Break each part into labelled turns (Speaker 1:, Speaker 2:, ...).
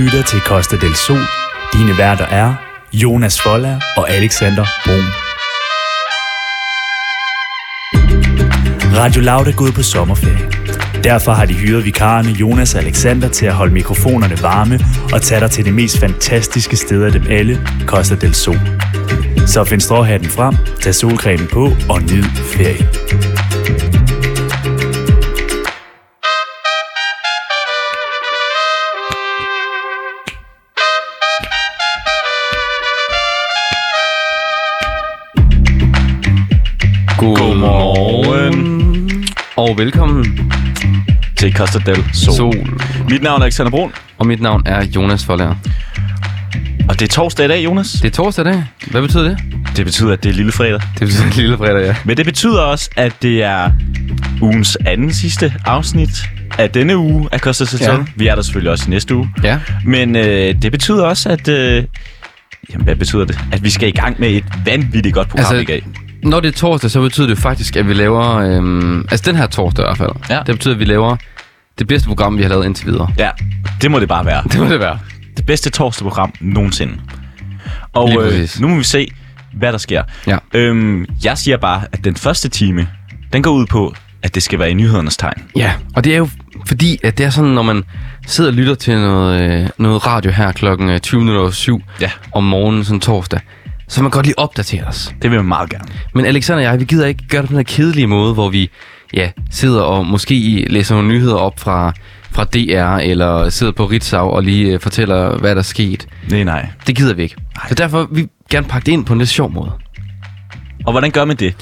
Speaker 1: lytter til Costa del Sol. Dine værter er Jonas Folla og Alexander Brun. Radio Loud er gået på sommerferie. Derfor har de hyret vikarerne Jonas og Alexander til at holde mikrofonerne varme og tage dig til det mest fantastiske sted af dem alle, Costa del Sol. Så find stråhatten frem, tag solcremen på og nyd ferien.
Speaker 2: Godmorgen
Speaker 3: og velkommen.
Speaker 2: til Costa del Sol.
Speaker 3: Sol.
Speaker 2: Mit navn er Alexander Brun,
Speaker 3: Og mit navn er Jonas Forlærer.
Speaker 2: og det er torsdag i dag, Jonas.
Speaker 3: Det er torsdag i dag. Hvad betyder det?
Speaker 2: Det betyder, at det er lille fredag.
Speaker 3: Det betyder lille fredag, ja.
Speaker 2: Men det betyder også, at det er ugens anden sidste afsnit af denne uge af Costa del Sol.
Speaker 3: Ja.
Speaker 2: Ja. Vi er der selvfølgelig også i næste uge.
Speaker 3: Ja.
Speaker 2: Men øh, det betyder også, at... Øh, jamen, hvad betyder det? At vi skal i gang med et vanvittigt godt program altså, i dag.
Speaker 3: når det er torsdag, så betyder det jo faktisk, at vi laver... Øhm, altså den her torsdag i hvert fald.
Speaker 2: Ja.
Speaker 3: Det betyder, at vi laver det bedste program, vi har lavet indtil videre.
Speaker 2: Ja, det må det bare være.
Speaker 3: Det må det være.
Speaker 2: Det bedste torsdagprogram nogensinde. Og
Speaker 3: Lige
Speaker 2: øh,
Speaker 3: præcis.
Speaker 2: nu må vi se, hvad der sker.
Speaker 3: Ja.
Speaker 2: Øhm, jeg siger bare, at den første time, den går ud på, at det skal være i nyhedernes tegn.
Speaker 3: Ja, og det er jo fordi, at det er sådan, når man sidder og lytter til noget, øh, noget radio her klokken øh, 20.07
Speaker 2: Ja.
Speaker 3: om morgenen, sådan torsdag, så vil man godt lige opdatere os.
Speaker 2: Det vil jeg meget gerne.
Speaker 3: Men Alexander og jeg, vi gider ikke gøre det på den her kedelige måde, hvor vi ja, sidder og måske læser nogle nyheder op fra, fra DR, eller sidder på Ritzau og lige øh, fortæller, hvad der er sket.
Speaker 2: Nej, nej.
Speaker 3: Det gider vi ikke. Så derfor vil vi gerne pakke det ind på en lidt sjov måde.
Speaker 2: Og hvordan gør man det?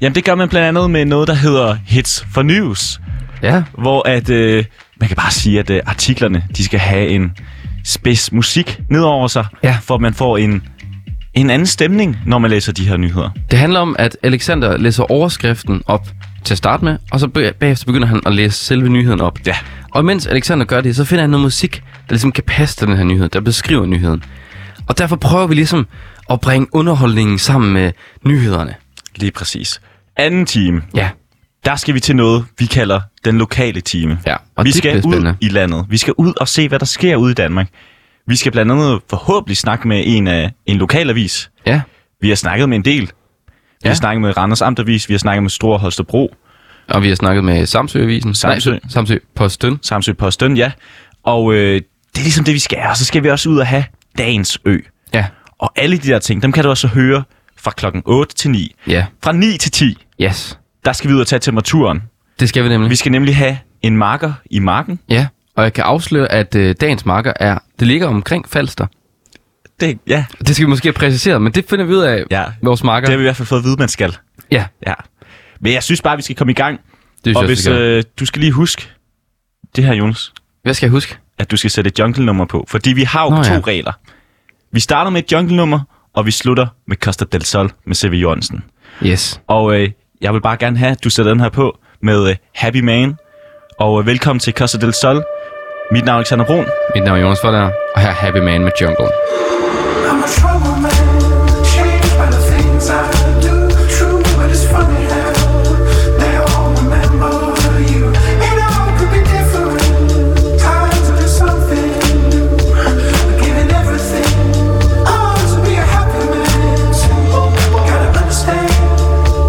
Speaker 2: Jamen, det gør man blandt andet med noget, der hedder Hits for News,
Speaker 3: Ja,
Speaker 2: hvor at, øh, man kan bare sige, at øh, artiklerne, de skal have en spids musik nedover sig,
Speaker 3: Ja.
Speaker 2: for at man får en, en anden stemning, når man læser de her nyheder.
Speaker 3: det handler om, at Alexander læser overskriften op til at starte med, og så be- bagefter begynder han at læse selve nyheden op.
Speaker 2: Ja.
Speaker 3: Og mens Alexander gør det, så finder han noget musik, der ligesom kan passe til den her nyhed, der beskriver nyheden. Og derfor prøver vi ligesom at bringe underholdningen sammen med nyhederne.
Speaker 2: Lige præcis. Anden time,
Speaker 3: Ja,
Speaker 2: der skal vi til noget, vi kalder den lokale time.
Speaker 3: Ja, og
Speaker 2: vi
Speaker 3: det
Speaker 2: skal
Speaker 3: bliver
Speaker 2: ud
Speaker 3: spændende.
Speaker 2: i landet. Vi skal ud og se, hvad der sker ude i Danmark. Vi skal blandt andet forhåbentlig snakke med en, af, en lokalavis.
Speaker 3: Ja,
Speaker 2: Vi har snakket med en del. Vi ja.
Speaker 3: Ja.
Speaker 2: har snakket med Randers Amtavis, vi har snakket med Stor Holstebro,
Speaker 3: og vi har snakket med Samsø-avisen.
Speaker 2: Samsø.
Speaker 3: Nej, Samsø Posten.
Speaker 2: Samsø Posten, ja. Og øh, det er ligesom det, vi skal. Og så skal vi også ud og have Dagens Ø.
Speaker 3: Ja.
Speaker 2: Og alle de der ting, dem kan du også høre fra klokken 8 til 9.
Speaker 3: Ja.
Speaker 2: Fra 9 til 10,
Speaker 3: Yes.
Speaker 2: der skal vi ud og tage temperaturen.
Speaker 3: Det skal vi nemlig.
Speaker 2: Vi skal nemlig have en marker i marken.
Speaker 3: Ja, og jeg kan afsløre, at øh, dagens marker er, det ligger omkring Falster.
Speaker 2: Det, ja,
Speaker 3: Det skal vi måske have præciseret, men det finder vi ud af,
Speaker 2: Ja.
Speaker 3: vores marker.
Speaker 2: Det har vi i hvert fald fået at vide, man skal.
Speaker 3: Ja,
Speaker 2: Ja. Men jeg synes bare, vi skal komme i gang.
Speaker 3: det synes
Speaker 2: Og
Speaker 3: jeg
Speaker 2: hvis
Speaker 3: også, øh...
Speaker 2: øh, du skal lige huske det her, Jonas,
Speaker 3: Hvad skal jeg huske?
Speaker 2: at du skal sætte et jungle-nummer på. Fordi vi har jo
Speaker 3: Nå,
Speaker 2: Nå, to
Speaker 3: ja.
Speaker 2: ja. regler. Vi starter med et jungle-nummer, og vi slutter med Costa del Sol med C.V. Jørgensen.
Speaker 3: Yes.
Speaker 2: Og øh, jeg vil bare gerne have, at du sætter den her på med øh, Happy Man. Og øh, velkommen til Costa del Sol. Mit navn er Alexander Brun.
Speaker 3: Mit navn er Jonas Forlager, og her er Happy Man med Jungle.
Speaker 4: I'm a troublemaker, shaped by the things I do. True, but it's funny how they all remember you. It all could be different. Times to do something new. Giving everything. Oh, All to be a happy man. Gotta understand.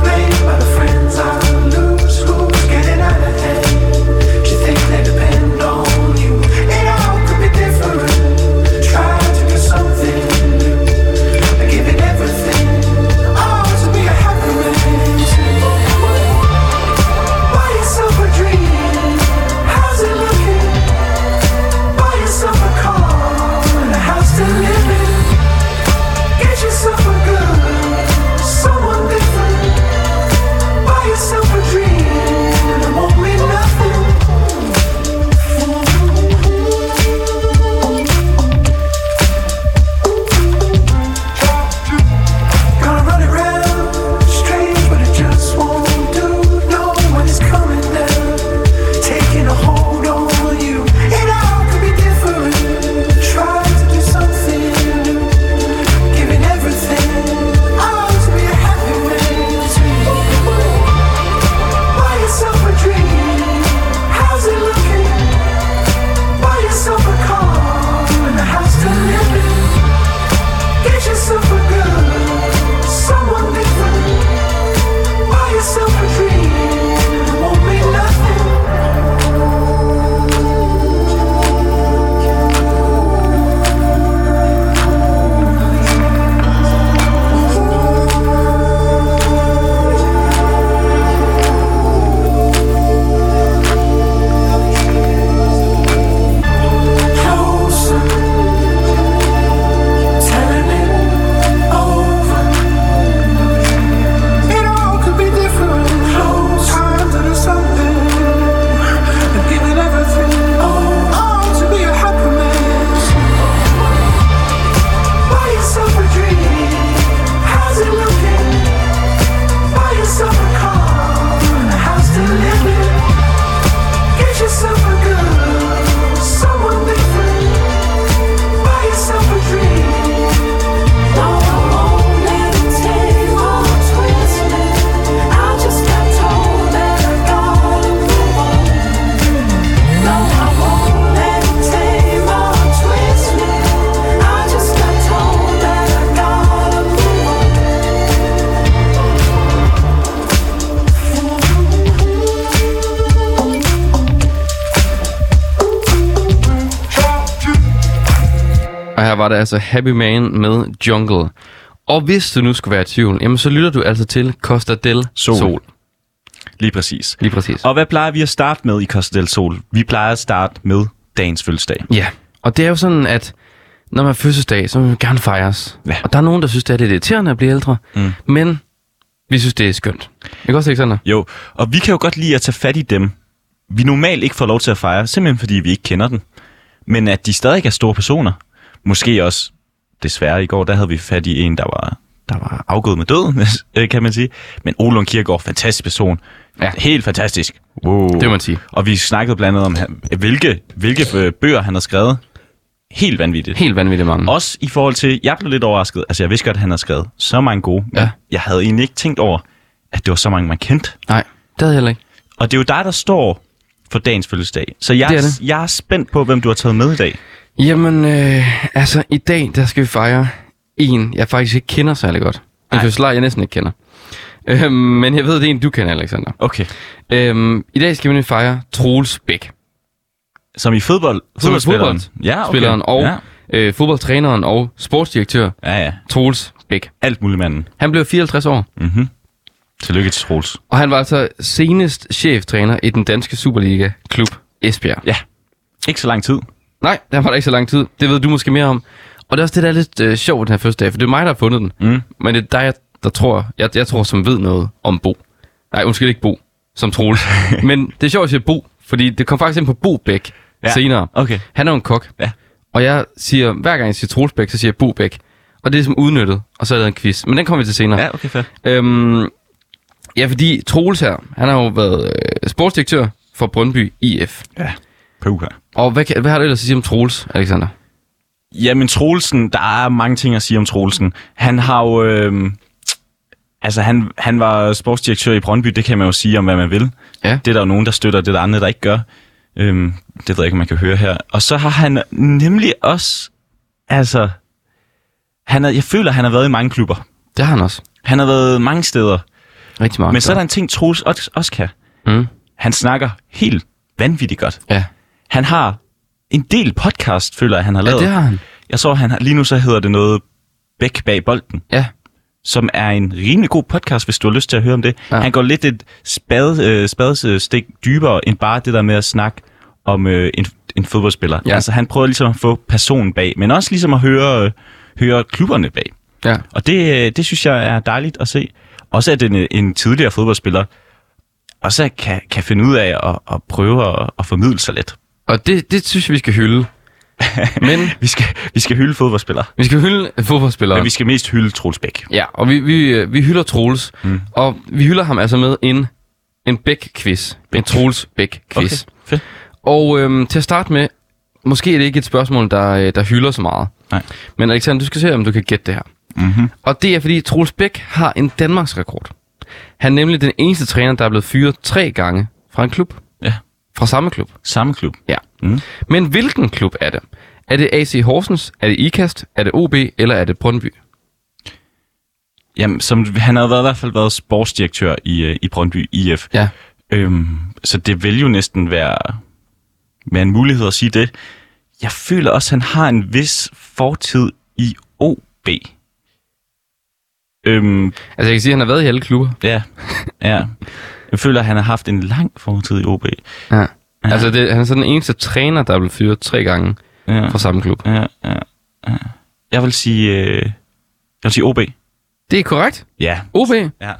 Speaker 4: Blamed by the friends I lose. Who's getting out of hand? She thinks they depend on you. It all could be different. Try to do something new. Oh,
Speaker 3: og her var det altså Happy Man med Jungle. Og hvis du nu skulle være i tvivl, jamen så lytter du altså til Costa del
Speaker 2: Sol.
Speaker 3: Sol. Sol.
Speaker 2: Lige præcis.
Speaker 3: Lige præcis.
Speaker 2: Og hvad plejer vi at starte med i Costa del Sol? Vi plejer at starte med dagens fødselsdag.
Speaker 3: Ja, og det er jo sådan, at når man har fødselsdag, så vil man gerne fejres.
Speaker 2: Ja.
Speaker 3: Og der er nogen, der synes, det er lidt irriterende at blive ældre, mm. men vi synes, det er skønt. Ikke også, Alexander?
Speaker 2: Jo, og vi kan jo godt lide at tage fat i dem, vi normalt ikke får lov til at fejre, simpelthen fordi vi ikke kender dem. Men at de stadig er store personer. Måske også, desværre i går, der havde vi fat i en, der var, der var afgået med døden, øh, kan man sige. Men Olund Kirkegaard, fantastisk person.
Speaker 3: Ja.
Speaker 2: Helt fantastisk. Wow.
Speaker 3: Det må man sige.
Speaker 2: Og vi snakkede blandt andet om, han- hvilke, hvilke øh, bøger han har skrevet. Helt vanvittigt.
Speaker 3: Helt vanvittigt mange.
Speaker 2: Også i forhold til, jeg blev lidt overrasket. Altså, jeg vidste godt, at han har skrevet så mange gode. men
Speaker 3: Ja.
Speaker 2: Jeg havde egentlig ikke tænkt over, at det var så mange, man kendte.
Speaker 3: Nej, det havde jeg heller ikke.
Speaker 2: Og det er jo dig, der står for dagens fødselsdag. Så jeg,
Speaker 3: Det er det.
Speaker 2: jeg er spændt på, hvem du har taget med i dag.
Speaker 3: Jamen, øh, altså i dag, der skal vi fejre en, jeg faktisk ikke kender særlig godt. Altså, En fødselar, jeg næsten ikke kender. Øhm, men jeg ved, det er en, du kender, Alexander.
Speaker 2: Okay.
Speaker 3: Øhm, I dag skal vi nemlig fejre Troels Bæk.
Speaker 2: Som i fodbold,
Speaker 3: Som er
Speaker 2: fodboldspilleren. Ja, okay.
Speaker 3: Spilleren og
Speaker 2: Ja.
Speaker 3: øh, fodboldtræneren og sportsdirektør
Speaker 2: ja, ja.
Speaker 3: Troels Bæk.
Speaker 2: Alt muligt manden.
Speaker 3: Han blev 54 år,
Speaker 2: Tillykke til Troels.
Speaker 3: og han var altså senest cheftræner i den danske Superliga-klub Esbjerg.
Speaker 2: Ja. Ikke så lang tid.
Speaker 3: Nej, der var der ikke så lang tid. Det ved du måske mere om. Og det er også det, der er lidt øh, sjovt ved den her første dag, for det er mig, der har fundet den. Mm. Men det er dig, der tror, jeg, jeg tror, som ved noget om Bo. Nej, undskyld ikke Bo, som Troels. Men det er sjovt at sige Bo, fordi det kom faktisk ind på Bo Bæk
Speaker 2: Ja,
Speaker 3: ja. senere.
Speaker 2: okay.
Speaker 3: Han er jo en kok.
Speaker 2: Ja.
Speaker 3: Og jeg siger, hver gang jeg siger Troels Bæk, så siger jeg Bo Bæk. Og det er som udnyttet, og så er der en quiz. Men den kommer vi til senere.
Speaker 2: okay, fedt.
Speaker 3: Øhm, ja, fordi Troels her, han har jo været øh, sportsdirektør for Brøndby IF.
Speaker 2: Ja. Puha.
Speaker 3: Og hvad, kan, hvad har du ellers at sige om Troels, Alexander?
Speaker 2: Jamen, Troelsen, der er mange ting at sige om Troelsen. Han har jo... Øh, altså, han, han var sportsdirektør i Brøndby, det kan man jo sige om, hvad man vil.
Speaker 3: Ja.
Speaker 2: Det er der jo nogen, der støtter, det er der andre, der ikke gør. Øhm, det ved jeg ikke, om man kan høre her. Og så har han nemlig også... Altså... Han er, jeg føler, han har været i mange klubber.
Speaker 3: Det har han også.
Speaker 2: Han har været mange steder.
Speaker 3: Rigtig meget.
Speaker 2: Men så er der en ting, Troels også, også kan.
Speaker 3: Mm.
Speaker 2: Han snakker helt vanvittigt godt.
Speaker 3: Ja.
Speaker 2: Han har en del podcast, føler jeg, han har
Speaker 3: ja,
Speaker 2: lavet.
Speaker 3: det har han.
Speaker 2: Jeg så, han har, lige nu så hedder det noget Bæk bag bolden,
Speaker 3: Ja.
Speaker 2: som er en rimelig god podcast, hvis du har lyst til at høre om det. Ja.
Speaker 3: Ja.
Speaker 2: Han går lidt et spade, øh, spadestik dybere, end bare det der med at snakke om øh, en, en fodboldspiller. Ja.
Speaker 3: Ja.
Speaker 2: Altså, han prøver ligesom at få personen bag, men også ligesom at høre, øh, høre klubberne bag.
Speaker 3: Ja.
Speaker 2: Og det, øh, det synes jeg er dejligt at se. Også at en, en tidligere fodboldspiller også kan, kan finde ud af at, at prøve at, at formidle sig lidt.
Speaker 3: Og det, det synes jeg, vi skal hylde. Men
Speaker 2: Vi skal, vi skal hylde fodboldspillere,
Speaker 3: vi skal hylde fodboldspillere.
Speaker 2: men vi skal mest hylde Troels Bæk.
Speaker 3: Ja, og vi, vi, øh, vi hylder Troels. Mm. Og vi hylder ham altså med en, en Bæk-quiz. En Troels Bæk-quiz. Okay.
Speaker 2: fedt.
Speaker 3: Og øhm, til at starte med, måske er det ikke et spørgsmål, der, øh, der hylder så meget.
Speaker 2: Nej. Mhm.
Speaker 3: Men Alexander, du skal se, om du kan gætte det her. Mm-hmm. Og det er, fordi Troels Bæk har en Danmarks rekord. Han er nemlig den eneste træner, der er blevet fyret tre gange fra en klub.
Speaker 2: Ja.
Speaker 3: Fra samme klub.
Speaker 2: Samme klub.
Speaker 3: Ja.
Speaker 2: Mm.
Speaker 3: Men hvilken klub er det? Er det AC Horsens, er det IKAST, er det OB, eller er det Brøndby?
Speaker 2: Jamen, som, han havde været, i hvert fald været sportsdirektør i, øh, i Brøndby IF.
Speaker 3: Ja.
Speaker 2: Øhm, så det vil jo næsten være, være en mulighed at sige det. Jeg føler også, han har en vis fortid i OB. Øhm,
Speaker 3: Altså jeg kan sige, at han har været i alle klubber.
Speaker 2: ja, ja. Jeg føler, han har haft en lang fortid i OB.
Speaker 3: Ja. Altså det, han er så den eneste træner, der er blevet fyret tre gange
Speaker 2: Ja,
Speaker 3: fra samme klub.
Speaker 2: ja, ja, ja. Jeg vil sige, øh, jeg vil sige OB.
Speaker 3: Det er korrekt.
Speaker 2: Ja.
Speaker 3: OB.
Speaker 2: Ja,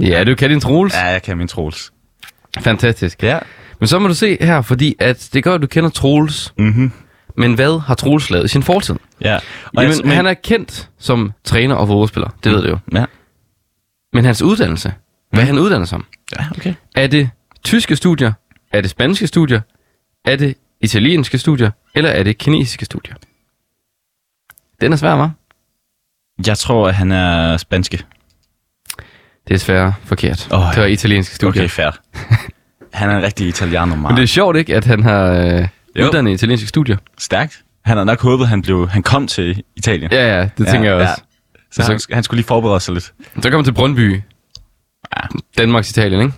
Speaker 3: Ja, du kan din Troels.
Speaker 2: ja jeg kan min Troels.
Speaker 3: Fantastisk.
Speaker 2: Ja.
Speaker 3: Men så må du se her, fordi at det gør, at du kender Troels.
Speaker 2: Mhm.
Speaker 3: Men hvad har Troels lavet i sin fortid?
Speaker 2: Ja.
Speaker 3: Og Jamen,
Speaker 2: jeg-
Speaker 3: han er kendt som træner og fodboldspiller. Det ved du jo.
Speaker 2: Ja.
Speaker 3: Men hans uddannelse.
Speaker 2: Mm.
Speaker 3: Hvad han uddanner sig om?
Speaker 2: ja, okay.
Speaker 3: Er det tyske studier? Er det spanske studier? Er det italienske studier? Eller er det kinesiske studier? Den er svær, hva'?
Speaker 2: Jeg tror, at han er spanske.
Speaker 3: Det er sværere forkert.
Speaker 2: Åh,
Speaker 3: Oh,
Speaker 2: ja.
Speaker 3: det var italienske
Speaker 2: Okay,
Speaker 3: studier.
Speaker 2: okay fair. Han er en rigtig italiener,
Speaker 3: Men
Speaker 2: meget
Speaker 3: det er sjovt, ikke, at han har øh,
Speaker 2: Jo.
Speaker 3: uddannet i italienske studier?
Speaker 2: stærkt. Han havde nok håbet, at han, blev, han kom til Italien.
Speaker 3: Ja, ja, det tænker jeg også.
Speaker 2: Ja. Så han, han skulle lige forberede sig lidt.
Speaker 3: Så kom han til Brøndby. Danmarks Italien, ikke?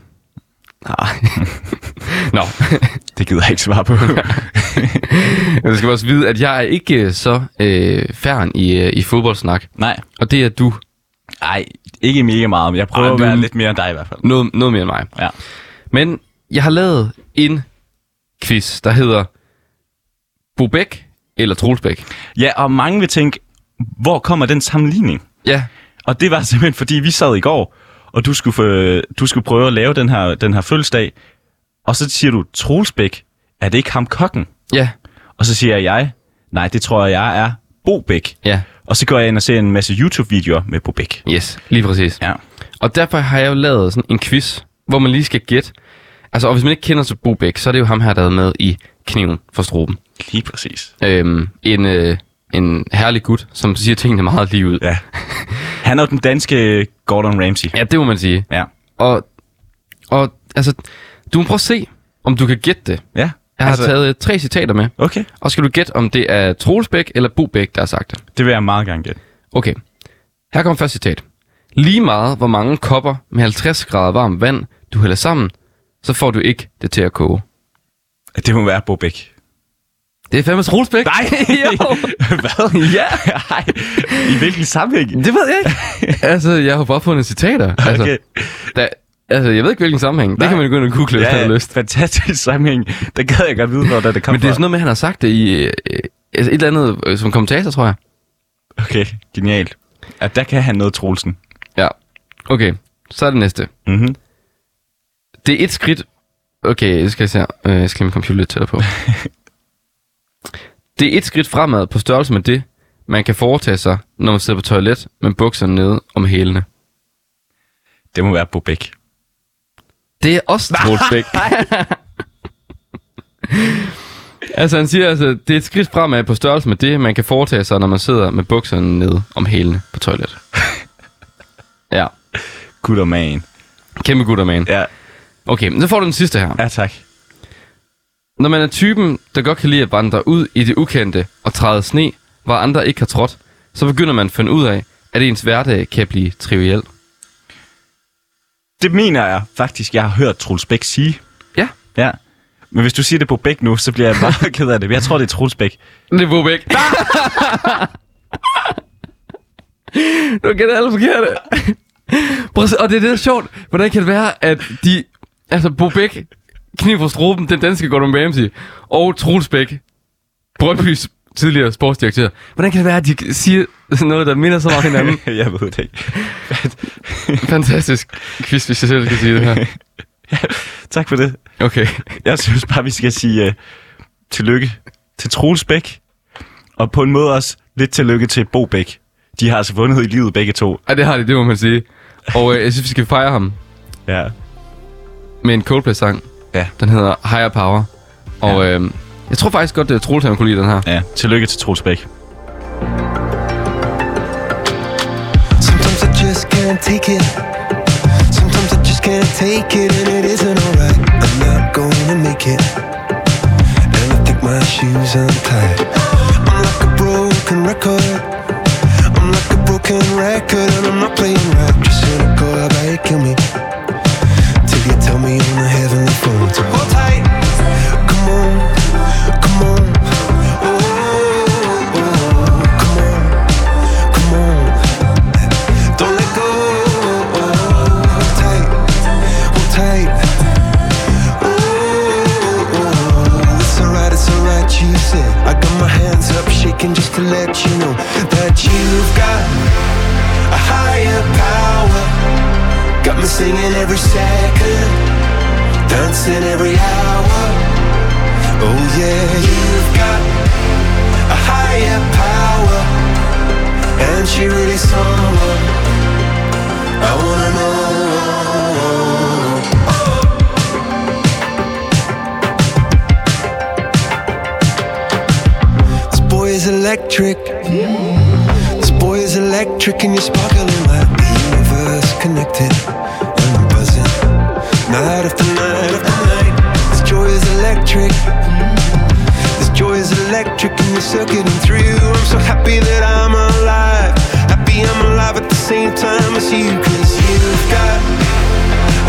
Speaker 3: Nej. Nå,
Speaker 2: Det gider jeg ikke svare på.
Speaker 3: du skal også vide, at jeg er ikke øh, så øh, færren i, øh, i fodboldsnak.
Speaker 2: Nej,
Speaker 3: Og det er du
Speaker 2: nej, ikke mega meget, men jeg prøver
Speaker 3: Ej,
Speaker 2: at
Speaker 3: du-
Speaker 2: være lidt mere end dig i hvert fald.
Speaker 3: noget, noget mere end mig.
Speaker 2: Ja.
Speaker 3: Men jeg har lavet en quiz, der hedder Bo Bæk eller Troels Bæk.
Speaker 2: ja, og mange vil tænke, hvor kommer den sammenligning?
Speaker 3: Ja,
Speaker 2: Og det var simpelthen, fordi vi sad i går, og du skulle, få, du skulle prøve at lave den her, den her fødselsdag. Og så siger du, Troelsbæk, er det ikke ham kokken?
Speaker 3: ja,
Speaker 2: Og så siger jeg, nej, det tror jeg, jeg er Bobæk.
Speaker 3: ja.
Speaker 2: Og så går jeg ind og ser en masse YouTube-videoer med Bobæk.
Speaker 3: Yes, lige præcis.
Speaker 2: Ja.
Speaker 3: Og derfor har jeg jo lavet sådan en quiz, hvor man lige skal gætte. Altså, og hvis man ikke kender til Bo Bæk, så er det jo ham her, der er med i Kniven for Struben.
Speaker 2: Lige præcis.
Speaker 3: Øhm, en, øh, en herlig gut, som siger tingene meget lige ud.
Speaker 2: Ja. Han er jo den danske Gordon Ramsay.
Speaker 3: ja det må man sige.
Speaker 2: Ja.
Speaker 3: Og, og altså, du må prøve at se, om du kan gætte det.
Speaker 2: Ja.
Speaker 3: Jeg har altså... taget øh, tre citater med.
Speaker 2: Okay,
Speaker 3: Og skal du gætte, om det er Troels Bæk eller Bo Bæk, der har sagt det.
Speaker 2: det vil jeg meget gerne gætte.
Speaker 3: Okay. Her kommer første citat. Lige meget hvor mange kopper med 50 grader varmt vand, du hælder sammen, så får du ikke det til at koge.
Speaker 2: Det må være Bobæk.
Speaker 3: Det er fandme Troels Bæk.
Speaker 2: Nej!
Speaker 3: jo.
Speaker 2: Hvad? Ja! Nej. I hvilken sammenhæng?
Speaker 3: Det ved jeg ikke. altså, jeg har bare fundet citater. Altså,
Speaker 2: Okay.
Speaker 3: der, altså, jeg ved ikke, hvilken sammenhæng. Det
Speaker 2: Nej.
Speaker 3: kan man jo gå ind og google, hvis man har lyst.
Speaker 2: fantastisk sammenhæng. Der gad jeg godt vide, hvor det kom
Speaker 3: Men det er sådan noget med, at han har sagt det i øh, øh, altså et eller andet øh, som kommentator, tror jeg.
Speaker 2: fra. Okay, genialt. Ja, der kan han noget, Troelsen.
Speaker 3: Ja. Okay, så er det næste.
Speaker 2: Mm-hmm.
Speaker 3: Det er et skridt... Okay, jeg skal, jeg se her. Øh, jeg skal have min computer lidt tættere på. det er et skridt fremad på størrelse med det, man kan foretage sig, når man sidder på toilet med bukserne nede om hælene.
Speaker 2: Det må være Bobæk.
Speaker 3: Det er også Troels Bæk. altså han siger altså, det er et skridt fremad på størrelse med det, man kan foretage sig, når man sidder med bukserne nede om hælene på toilet. ja,
Speaker 2: Good og man.
Speaker 3: kæmpe gutter, man.
Speaker 2: Ja.
Speaker 3: Okay, men så får du den sidste her.
Speaker 2: ja, tak.
Speaker 3: Når man er typen, der godt kan lide at vandre ud i det ukendte og træde sne, hvor andre ikke har trådt, så begynder man at finde ud af, at ens hverdag kan blive triviel.
Speaker 2: Det mener jeg faktisk, jeg har hørt Troels Bæk sige.
Speaker 3: Ja,
Speaker 2: Ja. Men hvis du siger det på Bæk nu, så bliver jeg meget ked af det. Men Jeg tror, det er Troels Bæk.
Speaker 3: det er Bobæk. du kan det alle forkerte. Prøv at se, og det er det, der er sjovt. Hvordan kan det være, at de... Altså, Bobæk, Kniv for Struben, den danske Gordon Ramsay, og Troels Bæk, Brøndby's tidligere sportsdirektør. Hvordan kan det være, at de siger sådan noget, der minder så meget om hinanden?
Speaker 2: jeg ved det ikke.
Speaker 3: Fantastisk quiz, hvis jeg selv skal sige det her.
Speaker 2: Tak for det.
Speaker 3: Okay.
Speaker 2: Jeg synes bare, vi skal sige uh, tillykke til Troels Bæk. Og på en måde også lidt tillykke til Bo Bæk. De har altså vundet i livet begge to.
Speaker 3: Ej, det har de, det må man sige. Og øh, jeg synes, vi skal fejre ham
Speaker 2: Ja.
Speaker 3: med en Coldplay-sang.
Speaker 2: Ja.
Speaker 3: Den hedder Higher Power. Og øh, jeg tror faktisk godt, at Troels han kunne lide den her.
Speaker 2: Ja, tillykke til Troels Bæk.
Speaker 5: Sometimes I just can't take it. Sometimes I just can't take it, and it isn't alright. I'm not gonna make it. And I think my shoes untied. I'm like a broken record. I'm like a broken record, and I'm not playing right. Just cynical, I bet you kill me. Till you tell me on the heavenly phone. So hold tight. Come on, come on. Oh, oh, oh. Come on, come on. Don't let go. Hold tight, hold tight. Ooh, it's alright, it's alright. You said I got my hands up, shaking just to let you know that you've got a higher power. Got me singing every second, dancing every hour. Oh yeah, you've got a higher power, and she really someone. I wanna know. This boy is electric. This boy is electric, and you're sparkling like the universe connected. And I'm buzzing. Night after night after night. This joy is electric. This joy is electric, and you're circuiting through. I'm so happy that I'm alive. Happy I'm alive at the same time as you, cause you've got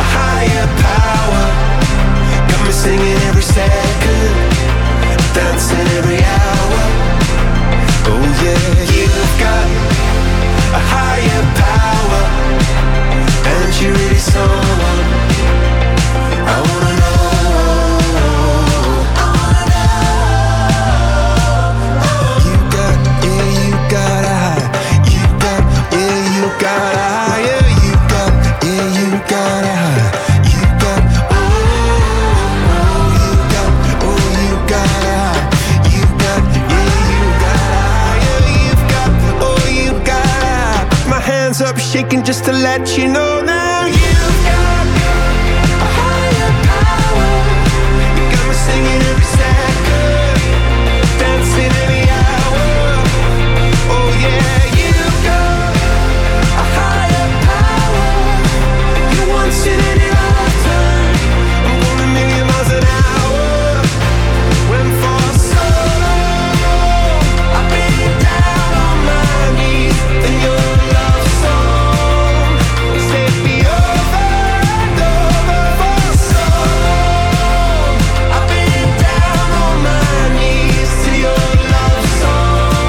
Speaker 5: a higher power. Got me me singing every second, dancing every hour. Oh yeah, you've got a higher power, and you really someone I wanna know. You got, yeah, you got a high. You got, yeah, you got a high. Yeah, you got, yeah, you got a high. You got, oh, oh, you got, oh, you got a high. You got, yeah, you got a high. Yeah, you've got, oh, you got a high. Put My hands up, shaking just to let you know now. You got a higher power. You got me singing every second dancing any hour. Oh yeah, you got a higher power. You once in any lifetime. I'm going a million miles an hour. Went for so long. I've been down on my knees in your love song. It's taken me over and over for so long. I've been down on my knees to your love song.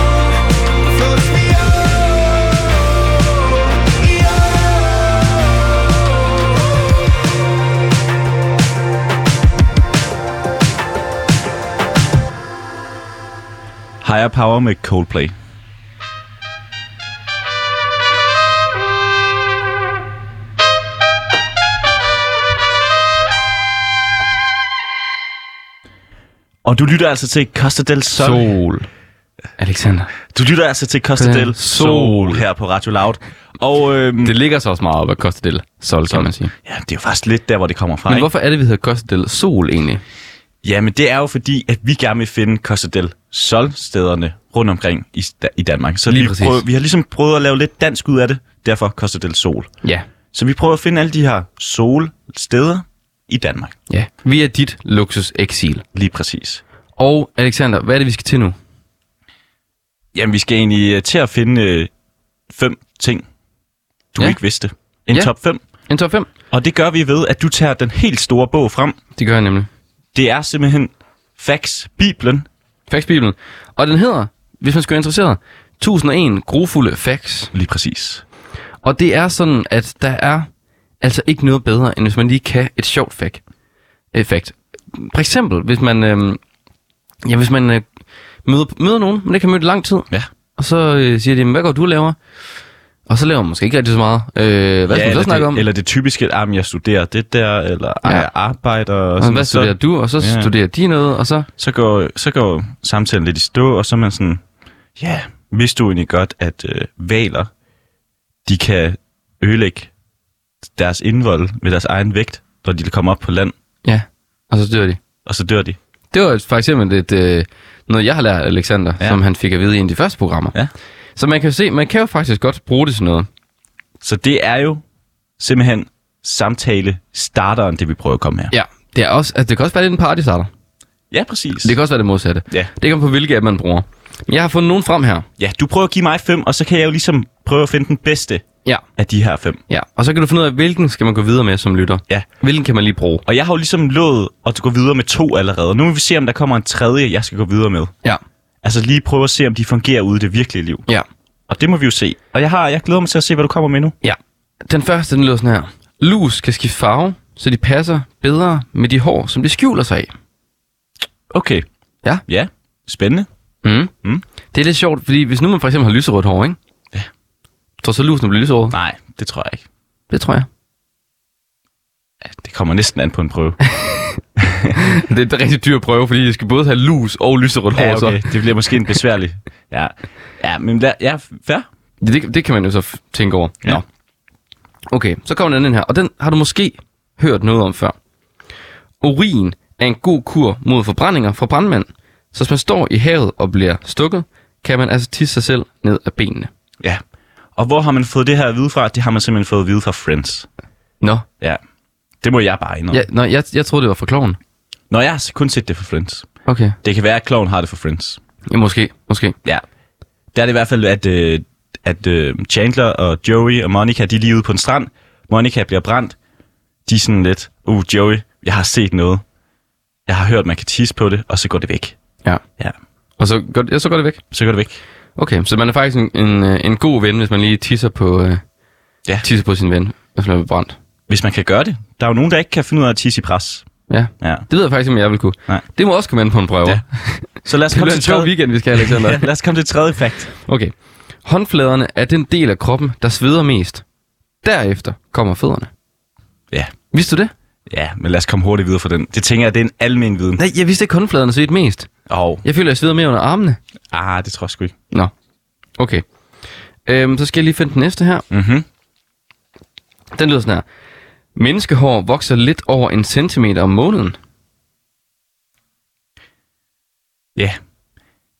Speaker 5: Floats me over, over.
Speaker 2: Higher Power med Coldplay. Og du lytter altså til Costa del Sol.
Speaker 3: Sol. Alexander.
Speaker 2: Du lytter altså til Costa
Speaker 3: Del
Speaker 2: del
Speaker 3: Sol.
Speaker 2: Sol her på Radio Loud. Og øhm,
Speaker 3: Det ligger så også meget op af Costa del Sol, kan man sige.
Speaker 2: ja, det er jo faktisk lidt der, hvor det kommer fra.
Speaker 3: Men
Speaker 2: ikke?
Speaker 3: hvorfor er det, vi hedder Costa del Sol egentlig?
Speaker 2: Jamen, det er jo fordi, at vi gerne vil finde Costa del Sol-stederne rundt omkring i, da- i Danmark. Så
Speaker 3: Lige
Speaker 2: vi,
Speaker 3: præcis.
Speaker 2: prøver, vi har ligesom prøvet at lave lidt dansk ud af det, derfor Costa del Sol.
Speaker 3: Ja.
Speaker 2: Så vi prøver at finde alle de her solsteder i Danmark.
Speaker 3: Ja. Vi er dit luksus eksil.
Speaker 2: Lige præcis.
Speaker 3: Og Alexander, hvad er det, vi skal til nu?
Speaker 2: Jamen, vi skal egentlig øh, til at finde øh, fem ting, du
Speaker 3: Ja.
Speaker 2: ikke vidste. En
Speaker 3: Ja.
Speaker 2: top 5.
Speaker 3: En top 5?
Speaker 2: Og det gør vi ved, at du tager den helt store bog frem.
Speaker 3: Det gør jeg nemlig.
Speaker 2: Det er simpelthen Facts Bibelen.
Speaker 3: Faxbibelen. Og den hedder, hvis man skulle være interesseret, 1001 grofulde facts.
Speaker 2: Lige præcis.
Speaker 3: Og det er sådan, at der er altså ikke noget bedre, end hvis man lige kan et sjovt fact. Øh, fact. For eksempel, hvis man, øh, ja, hvis man øh, møder, møder nogen, man ikke har mødt i lang tid,
Speaker 2: Ja.
Speaker 3: og så øh, siger de, "Men hvad går du og laver? Og så laver man måske ikke rigtig så meget. Øh, hvad ja, skal man så
Speaker 2: eller,
Speaker 3: snakke
Speaker 2: det,
Speaker 3: om?
Speaker 2: eller det typiske, at jeg studerer det der, eller ja.
Speaker 3: Ja.
Speaker 2: jeg arbejder. Og
Speaker 3: Og
Speaker 2: sådan,
Speaker 3: hvad studerer
Speaker 2: så,
Speaker 3: du? Og så
Speaker 2: Ja.
Speaker 3: studerer de noget, og så...
Speaker 2: så, går, så går samtalen lidt i stå, og så er man sådan, ja, yeah, vidste du egentlig godt, at øh, valer, de kan ødelægge deres indvold ved deres egen vægt, når de kommer op på land,
Speaker 3: Ja, og så dør de.
Speaker 2: og så dør de.
Speaker 3: Det var for eksempel et, øh, noget, jeg har lært af Alexander, ja.
Speaker 2: Ja.
Speaker 3: som han fik at vide i en af de første programmer.
Speaker 2: Ja.
Speaker 3: Så man kan jo se, man kan jo faktisk godt bruge det til noget.
Speaker 2: Så det er jo simpelthen samtale starteren, det vi prøver at komme her.
Speaker 3: Ja. Det, er også, altså, det kan også være, det er en party starter.
Speaker 2: ja præcis.
Speaker 3: Det kan også være det modsatte.
Speaker 2: Ja.
Speaker 3: Det kommer på, hvilke app man bruger. Men Jeg har fundet nogen frem her.
Speaker 2: ja, du prøver at give mig fem, og så kan jeg jo ligesom prøve at finde den bedste
Speaker 3: Ja.
Speaker 2: af de her fem.
Speaker 3: ja. Og så kan du finde ud af, hvilken skal man gå videre med som lytter.
Speaker 2: Ja.
Speaker 3: Hvilken kan man lige bruge.
Speaker 2: Og jeg har jo ligesom lovet at gå videre med to allerede. Nu vil vi se, om der kommer en tredje, jeg skal gå videre med.
Speaker 3: Ja.
Speaker 2: Altså lige prøve at se, om de fungerer ude i det virkelige liv.
Speaker 3: Ja.
Speaker 2: Og det må vi jo se. Og jeg, har, jeg glæder mig til at se, hvad du kommer med nu.
Speaker 3: Ja. Den første, den lyder sådan her. Lus kan skifte farve, så de passer bedre med de hår, som de skjuler sig i.
Speaker 2: Okay.
Speaker 3: Ja.
Speaker 2: Ja. Spændende.
Speaker 3: Mm.
Speaker 2: Mm.
Speaker 3: Det er lidt sjovt, fordi hvis nu man for eksempel har lyserødt hår, ikke?
Speaker 2: Ja.
Speaker 3: Tror du så lusen bliver lyserød?
Speaker 2: Nej, det tror jeg ikke.
Speaker 3: Det tror jeg.
Speaker 2: Ja, Det kommer næsten an på en prøve.
Speaker 3: Det er en rigtig dyr prøve, fordi de skal både have lus og lyserødt hår.
Speaker 2: ja, okay.
Speaker 3: så.
Speaker 2: Det bliver måske en besværlig. Ja. Ja, men lad, ja, fair.
Speaker 3: Ja, Det, det kan man jo så f- tænke over.
Speaker 2: Ja.
Speaker 3: Nå. Okay, så kommer den anden her, og den har du måske hørt noget om før. Urin er en god kur mod forbrændinger fra brandmænd. Så hvis man står i havet og bliver stukket, kan man altså tisse sig selv ned af benene.
Speaker 2: Ja. Og hvor har man fået det her at vide fra? Det har man simpelthen fået at vide fra Friends.
Speaker 3: Nå,
Speaker 2: Ja. Det må jeg bare indrømme.
Speaker 3: ja, nå jeg, jeg troede, det var for kloven.
Speaker 2: Nå, jeg har kun set det fra Friends.
Speaker 3: Okay.
Speaker 2: Det kan være, at kloven har det fra Friends.
Speaker 3: Ja, måske, måske.
Speaker 2: Ja. Der er det i hvert fald, at, øh, at øh, Chandler og Joey og Monica, de er lige ude på en strand. Monica bliver brændt. De er sådan lidt, uh, Joey, jeg har set noget. jeg har hørt, man kan tisse på det, og så går det væk.
Speaker 3: Ja.
Speaker 2: Ja,
Speaker 3: Og så går, det- ja, så går det væk.
Speaker 2: så går det væk.
Speaker 3: Okay, så man er faktisk en, en, øh, en god ven, hvis man lige tisser på, øh,
Speaker 2: Ja.
Speaker 3: tisser på sin ven, hvis man er brændt.
Speaker 2: Hvis man kan gøre det. Der er jo nogen, der ikke kan finde ud af at tisse i pres.
Speaker 3: Ja.
Speaker 2: Ja.
Speaker 3: Det ved jeg faktisk ikke, om jeg vil kunne.
Speaker 2: Nej.
Speaker 3: Det må også komme ind på en prøve.
Speaker 2: Ja.
Speaker 3: Ja.
Speaker 2: Så lad os
Speaker 3: Det
Speaker 2: komme
Speaker 3: bliver en
Speaker 2: til
Speaker 3: sjov
Speaker 2: tredje.
Speaker 3: weekend, vi skal have, Alexander.
Speaker 2: Ja, lad os komme til tredje fakt.
Speaker 3: Okay. Håndfladerne er den del af kroppen, der sveder mest. Derefter kommer fødderne.
Speaker 2: Ja.
Speaker 3: Vidste du det?
Speaker 2: Ja, men lad os komme hurtigt videre fra den. Det tænker jeg, det er en almen viden.
Speaker 3: Nej, jeg vidste ikke, at håndfladerne svedte mest.
Speaker 2: Og,
Speaker 3: Jeg føler, jeg sveder mere under armene.
Speaker 2: ah, det tror jeg sgu ikke.
Speaker 3: Nå. Okay. Øhm, så skal jeg lige finde den næste her.
Speaker 2: Mhm.
Speaker 3: Den lyder sådan her. Menneskehår vokser lidt over en centimeter om måneden.
Speaker 2: Ja.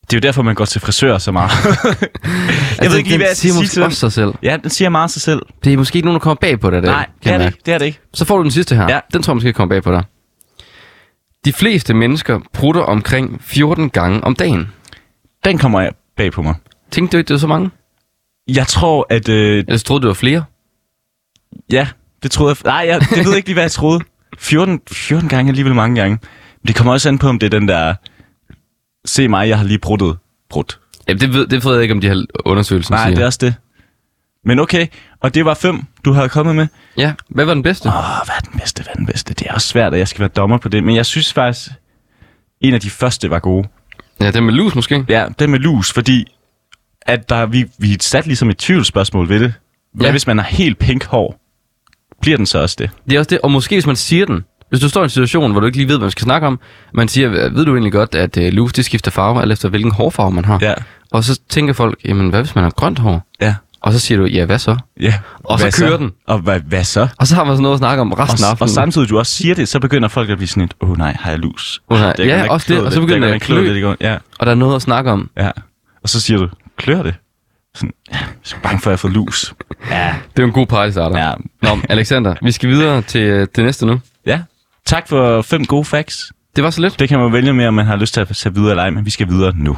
Speaker 2: Det er jo derfor, man går til frisør så meget. jeg ved ikke lige, hvad jeg skal
Speaker 3: Altså, siger
Speaker 2: sige
Speaker 3: måske
Speaker 2: til den.
Speaker 3: også sig selv.
Speaker 2: Ja, den siger meget sig selv.
Speaker 3: Det er måske ikke nogen, der kommer bag på dig.
Speaker 2: Nej, det er det ikke. Det er det ikke.
Speaker 3: Så får du den sidste her.
Speaker 2: Ja.
Speaker 3: Ja. Den tror jeg måske kommer bag på dig. De fleste mennesker prutter omkring 14 gange om dagen.
Speaker 2: Den kommer jeg bag på mig.
Speaker 3: Tænkte du ikke, det var så mange?
Speaker 2: Jeg tror, at... Øh,
Speaker 3: Ellers troede du, det var flere?
Speaker 2: ja, det troede jeg... Nej, jeg, det ved jeg ikke lige, hvad jeg troede. 14, 14 gange er alligevel mange gange. Men det kommer også an på, om det er den der... Se mig, jeg har lige bruttet. Brudt.
Speaker 3: Jamen, det ved, det ved jeg ikke, om de har undersøgelsen
Speaker 2: Nej,
Speaker 3: siger.
Speaker 2: det er også det. Men okay, og det var fem, du havde kommet med.
Speaker 3: Ja, hvad var den bedste?
Speaker 2: Åh, hvad er den bedste, hvad er den bedste? Det er også svært, at jeg skal være dommer på det, men jeg synes faktisk, en af de første var gode.
Speaker 3: Ja, den med lus måske.
Speaker 2: Ja, den med lus, fordi at der, vi, vi satte ligesom et tvivlsspørgsmål ved det. Hvad ja.
Speaker 3: Ja.
Speaker 2: hvis man har helt pink hår? Bliver den så også det?
Speaker 3: Det er også det, og måske hvis man siger den. Hvis du står i en situation, hvor du ikke lige ved, hvad man skal snakke om, man siger, ved du egentlig godt, at øh, lus, det skifter farve, alt efter hvilken hårfarve man har.
Speaker 2: Ja.
Speaker 3: Og så tænker folk, jamen hvad hvis man har grønt hår?
Speaker 2: Ja.
Speaker 3: Og så siger du, ja hvad så?
Speaker 2: ja.
Speaker 3: Og så kører den.
Speaker 2: Og hvad, hvad så?
Speaker 3: Og så har man sådan noget at snakke om resten af
Speaker 2: Og, og
Speaker 3: aftenen.
Speaker 2: samtidig du også siger det, så begynder folk at blive sådan lidt, åh oh, nej, har jeg lus?
Speaker 3: Åh, nej.
Speaker 2: Det
Speaker 3: Ja,
Speaker 2: er godt nok
Speaker 3: også det,
Speaker 2: kløet
Speaker 3: og så
Speaker 2: lidt.
Speaker 3: begynder
Speaker 2: det
Speaker 3: det at
Speaker 2: er godt nok kløet
Speaker 3: klø.
Speaker 2: lidt i går. Ja,
Speaker 3: og der er noget at snakke om.
Speaker 2: ja. Og så siger du, klør det? Sådan, ja, jeg er sgu bange for, at jeg får lus. ja,
Speaker 3: Det er jo en god party starter.
Speaker 2: Ja.
Speaker 3: Nå, men Alexander, vi skal videre til øh, det næste nu.
Speaker 2: Ja. Tak for fem gode facts.
Speaker 3: Det var så lidt.
Speaker 2: Det kan man vælge med, om man har lyst til at tage videre eller ej, men vi skal videre nu.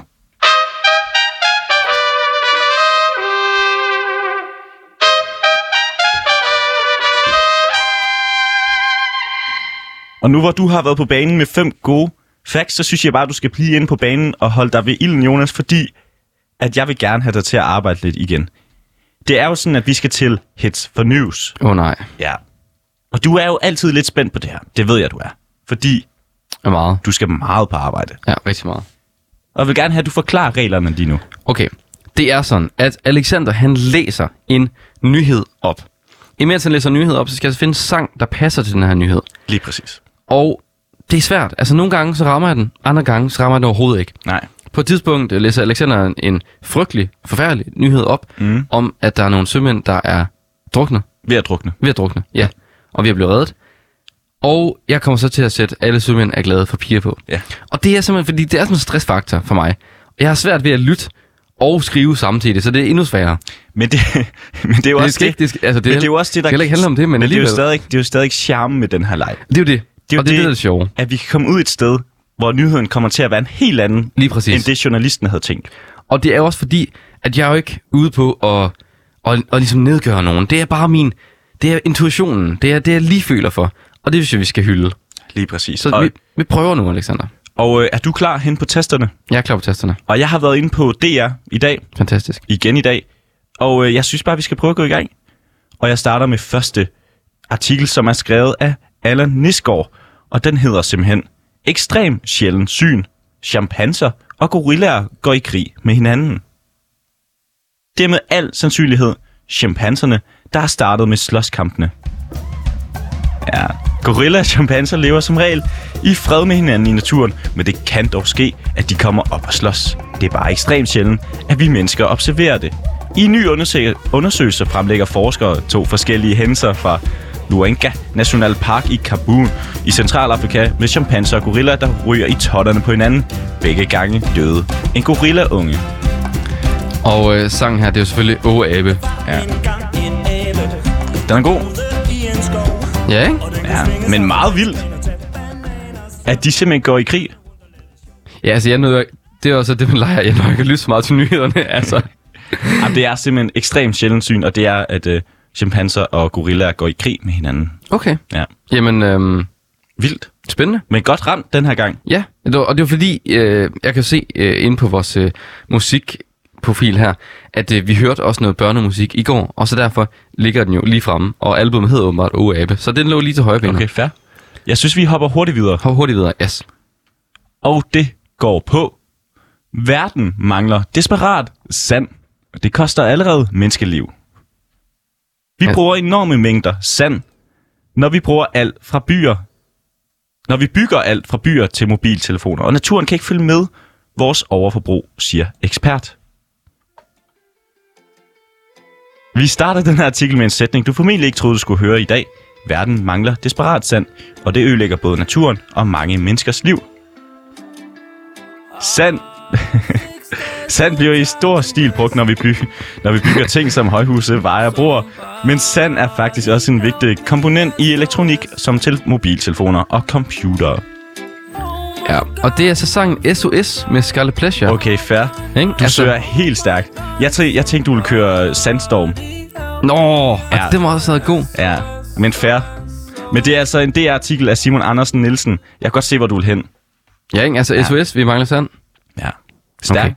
Speaker 2: Og nu hvor du har været på banen med fem gode facts, så synes jeg bare, at du skal blive inde på banen og holde dig ved ilden, Jonas, fordi at jeg vil gerne have dig til at arbejde lidt igen. Det er jo sådan, at vi skal til Hits for News.
Speaker 3: Åh oh, nej,
Speaker 2: Ja. Og du er jo altid lidt spændt på det her. Det ved jeg, du er. Fordi
Speaker 3: er meget.
Speaker 2: du skal meget på arbejde.
Speaker 3: Ja, rigtig meget.
Speaker 2: Og jeg vil gerne have, at du forklarer reglerne lige nu.
Speaker 3: Okay, det er sådan, at Alexander han læser en nyhed op. Imens han læser en nyhed op, så skal jeg altså finde en sang, der passer til den her nyhed.
Speaker 2: Lige præcis.
Speaker 3: Og det er svært. Altså nogle gange så rammer jeg den, andre gange så rammer jeg den overhovedet ikke.
Speaker 2: Nej.
Speaker 3: På et tidspunkt øh, læser Alexander en, en frygtelig, forfærdelig nyhed op, mm. om at der er nogle sømænd, der er druknet.
Speaker 2: Ved at drukne.
Speaker 3: Ved at drukne, ja. Og vi er blevet reddet. Og jeg kommer så til at sætte alle sømænd er glade for piger på.
Speaker 2: Ja.
Speaker 3: Og det er simpelthen, fordi det er sådan en stressfaktor for mig. Og jeg har svært ved at lytte og skrive samtidig, så det er endnu sværere.
Speaker 2: Men det, men det er jo
Speaker 3: Det
Speaker 2: også
Speaker 3: skal
Speaker 2: det.
Speaker 3: ikke- det skal- altså, det er
Speaker 2: men det er
Speaker 3: heller-
Speaker 2: jo også det, der
Speaker 3: det skal ikke handle om det, men
Speaker 2: det er, jo
Speaker 3: alligevel.
Speaker 2: stadig, det er jo stadig charme med den her leg.
Speaker 3: Det er jo det.
Speaker 2: Det er jo
Speaker 3: og det, er det, der er det sjove.
Speaker 2: At vi kan komme ud et sted, hvor nyheden kommer til at være en helt anden,
Speaker 3: Lige præcis.
Speaker 2: end det journalisten havde tænkt.
Speaker 3: Og det er jo også fordi, at jeg er jo ikke ude på at, at, at ligesom nedgøre nogen. Det er bare min, det er intuitionen. Det er det, jeg lige føler for. Og det synes jeg, vi skal hylde.
Speaker 2: Lige præcis.
Speaker 3: Så
Speaker 2: og
Speaker 3: vi, vi prøver nu, Alexander.
Speaker 2: og øh, er du klar hen på testerne?
Speaker 3: Jeg er klar på tasterne.
Speaker 2: Og jeg har været inde på DR i dag,
Speaker 3: Fantastisk.
Speaker 2: igen i dag. Og øh, jeg synes bare, vi skal prøve at gå i gang. Og jeg starter med første artikel, som er skrevet af Allan Nisgaard. Og den hedder simpelthen Ekstrem sjælden syn. Chimpanser og gorillaer går i krig med hinanden. Det er med al sandsynlighed chimpanserne, der har startet med slåskampene. Ja, gorillaer og chimpanser lever som regel i fred med hinanden i naturen, men det kan dog ske, at de kommer op og slås. Det er bare ekstremt sjældent, at vi mennesker observerer det. I en ny undersøg- undersøgelse fremlægger forskere to forskellige hændelser fra Luenga National Park i Kabul i Centralafrika med chimpanser og gorillaer, der ryger i totterne på hinanden. Begge gange døde en gorillaunge.
Speaker 3: Og øh, sangen her, det er jo selvfølgelig Åh Abe.
Speaker 2: Ja. Den er god.
Speaker 3: Ja, ikke?
Speaker 2: Ja, men meget vild. At de simpelthen går i krig.
Speaker 3: Ja, altså jeg nåede, det er også det, man leger. Jeg når ikke at lytte så meget til nyhederne, altså.
Speaker 2: Jamen, det er simpelthen ekstremt sjældent syn, og det er, at øh, chimpanser og gorillaer går i krig med hinanden.
Speaker 3: Okay.
Speaker 2: Ja.
Speaker 3: Jamen, øhm,
Speaker 2: Vildt.
Speaker 3: Spændende.
Speaker 2: Men godt ramt den her gang.
Speaker 3: Ja, det var, og det var fordi, øh, jeg kan se øh, inde på vores øh, musikprofil her, at øh, vi hørte også noget børnemusik i går, og så derfor ligger den jo lige fremme, og albumet hedder åbenbart O Abe, så den lå lige til højre benet.
Speaker 2: Okay, fair. Jeg synes, vi hopper hurtigt videre.
Speaker 3: Hop hurtigt videre, yes.
Speaker 2: Og det går på. Verden mangler desperat sand. Det koster allerede menneskeliv. Vi
Speaker 3: Ja.
Speaker 2: bruger enorme mængder sand, når vi bruger alt fra byer. Når vi bygger alt fra byer til mobiltelefoner. Og naturen kan ikke følge med vores overforbrug, siger ekspert. Vi starter den her artikel med en sætning, du formentlig ikke troede, du skulle høre i dag. Verden mangler desperat sand, og det ødelægger både naturen og mange menneskers liv. Sand. sand bliver i stor stil brugt, når vi, by, når vi bygger ting som højhuse, veje og broer. Men sand er faktisk også en vigtig komponent i elektronik, som til mobiltelefoner og computere.
Speaker 3: Ja, og det er så sangen SOS med Scarlet Pleasure.
Speaker 2: Okay, fair.
Speaker 3: Ikke? Altså-
Speaker 2: Du søger helt stærkt. Jeg, tæ, jeg tænkte, du ville køre Sandstorm.
Speaker 3: Nå, ja.
Speaker 2: Ja.
Speaker 3: og den var også været god.
Speaker 2: Ja, men fair. Men det er altså en DR-artikel af Simon Andersen Nielsen. Jeg kan godt se, hvor du vil hen.
Speaker 3: Ja, ikke? altså SOS, vi mangler sand.
Speaker 2: Ja. Stærkt. Okay.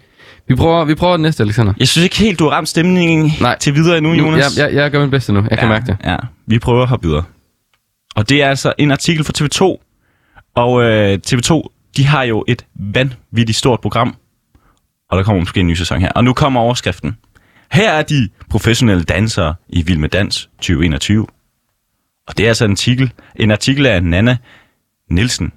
Speaker 3: Vi prøver, vi prøver den næste, Alexander.
Speaker 2: Jeg synes ikke helt, du har ramt stemningen
Speaker 3: Nej.
Speaker 2: til videre endnu,
Speaker 3: Nu, jeg,
Speaker 2: Jonas.
Speaker 3: jeg, jeg gør mit bedste nu, jeg ja. kan mærke det.
Speaker 2: Ja, vi prøver at hoppe videre. Og det er altså en artikel fra TV2. Og øh, TV2, de har jo et vanvittigt stort program. Og der kommer måske en ny sæson her. Og nu kommer overskriften. Her er de professionelle dansere i Vild med Dans 2021. Og det er altså en artikel, en artikel af Nana Nielsen.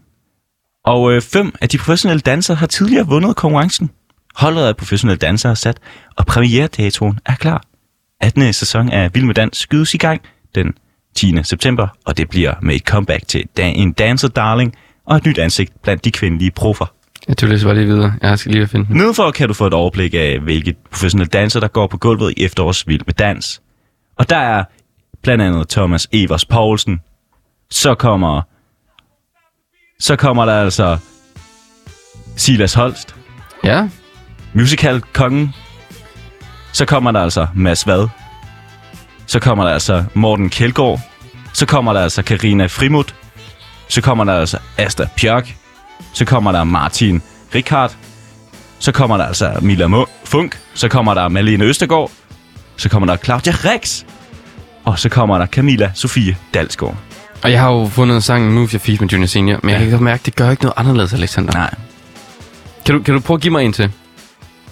Speaker 2: Og øh, fem af de professionelle dansere har tidligere vundet konkurrencen. Holdet af professionelle dansere er sat, og premieredatoen er klar. 18. sæson af Vild med Dans skydes i gang den 10. september, og det bliver med et comeback til da- en dancer darling og et nyt ansigt blandt de kvindelige proffer.
Speaker 3: Jeg tog lige bare lige videre. Jeg skal lige finde den.
Speaker 2: Nedenfor kan du få et overblik af, hvilke professionelle danser, der går på gulvet i efterårs Vild med Dans. Og der er blandt andet Thomas Evers Poulsen. Så kommer... Så kommer der altså Silas Holst.
Speaker 3: Ja,
Speaker 2: musical kongen. Så kommer der altså Mads Vad. Så kommer der altså Morten Kjeldgaard. Så kommer der altså Karina Frimut. Så kommer der altså Asta Bjørk. Så kommer der Martin Rikard. Så kommer der altså Mila Mo- Funk. Så kommer der Malene Østergaard. Så kommer der Claudia Rex. Og så kommer der Camilla Sofie Dalsgaard.
Speaker 3: og jeg har jo fundet sangen Move Your Feet med Junior Senior, men jeg kan godt mærke, det gør ikke noget anderledes, Alexander.
Speaker 2: Nej.
Speaker 3: Kan du, kan du prøve at give mig en til?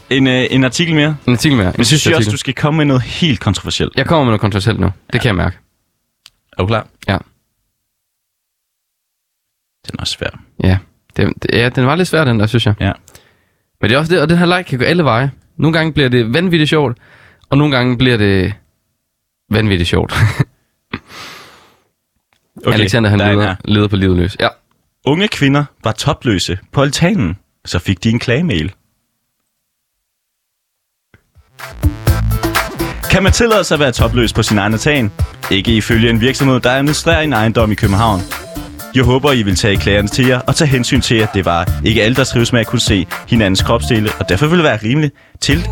Speaker 2: En, øh, en artikel mere.
Speaker 3: En artikel mere.
Speaker 2: Men synes jeg også, du skal komme med noget helt kontroversielt.
Speaker 3: Jeg kommer med noget kontroversielt nu. Det kan jeg mærke.
Speaker 2: Er du klar?
Speaker 3: Ja.
Speaker 2: Den er også svær.
Speaker 3: Ja. Det, det, ja, den var lidt svær, den der, synes jeg.
Speaker 2: Ja.
Speaker 3: Men det er også det, og den her leg kan gå alle veje. Nogle gange bliver det vanvittigt sjovt, og nogle gange bliver det vanvittigt sjovt. Okay, Alexander, han
Speaker 2: der er en
Speaker 3: leder,
Speaker 2: her.
Speaker 3: leder på livet løs. Ja.
Speaker 2: Unge kvinder var topløse på altanen, så fik de en klagemail. Kan man tillade sig at være topløs på sin egen altan? Ikke ifølge en virksomhed, der administrerer en ejendom i København. Jeg håber, I vil tage klagerne til jer og tage hensyn til, at det var ikke alle, der trives med at kunne se hinandens kropsdele, og derfor vil det være rimeligt til,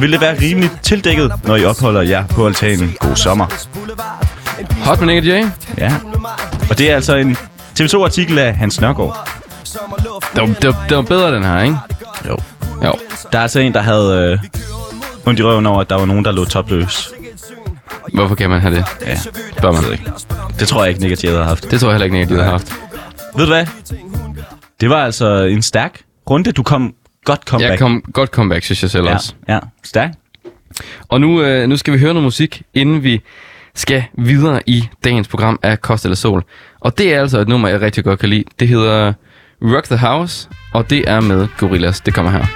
Speaker 2: vil det være rimeligt tildækket, når I opholder jer på altanen. God sommer.
Speaker 3: Hot men ikke Jay.
Speaker 2: Ja. Og det er altså en TV2-artikel af Hans Nørgaard.
Speaker 3: Det var, det, var, det var bedre, den her, ikke?
Speaker 2: Jo.
Speaker 3: Jo.
Speaker 2: Der er altså en, der havde øh, ondt i røven over, at der var nogen, der lå topløs.
Speaker 3: Hvorfor kan man have det?
Speaker 2: Ja,
Speaker 3: Bør man ikke.
Speaker 2: det tror jeg ikke, Nick og Jay havde haft.
Speaker 3: Det tror jeg heller ikke, Nick, har haft.
Speaker 2: Ved du hvad? Det var altså en stærk runde. Du kom godt comeback.
Speaker 3: Jeg kom godt comeback, synes jeg selv
Speaker 2: ja,
Speaker 3: også.
Speaker 2: ja, stærk.
Speaker 3: Og nu, øh, nu skal vi høre noget musik, inden vi skal videre i dagens program af Kost eller Sol. Og det er altså et nummer, jeg rigtig godt kan lide. Det hedder Rock the House, og det er med Gorillaz. Det kommer her.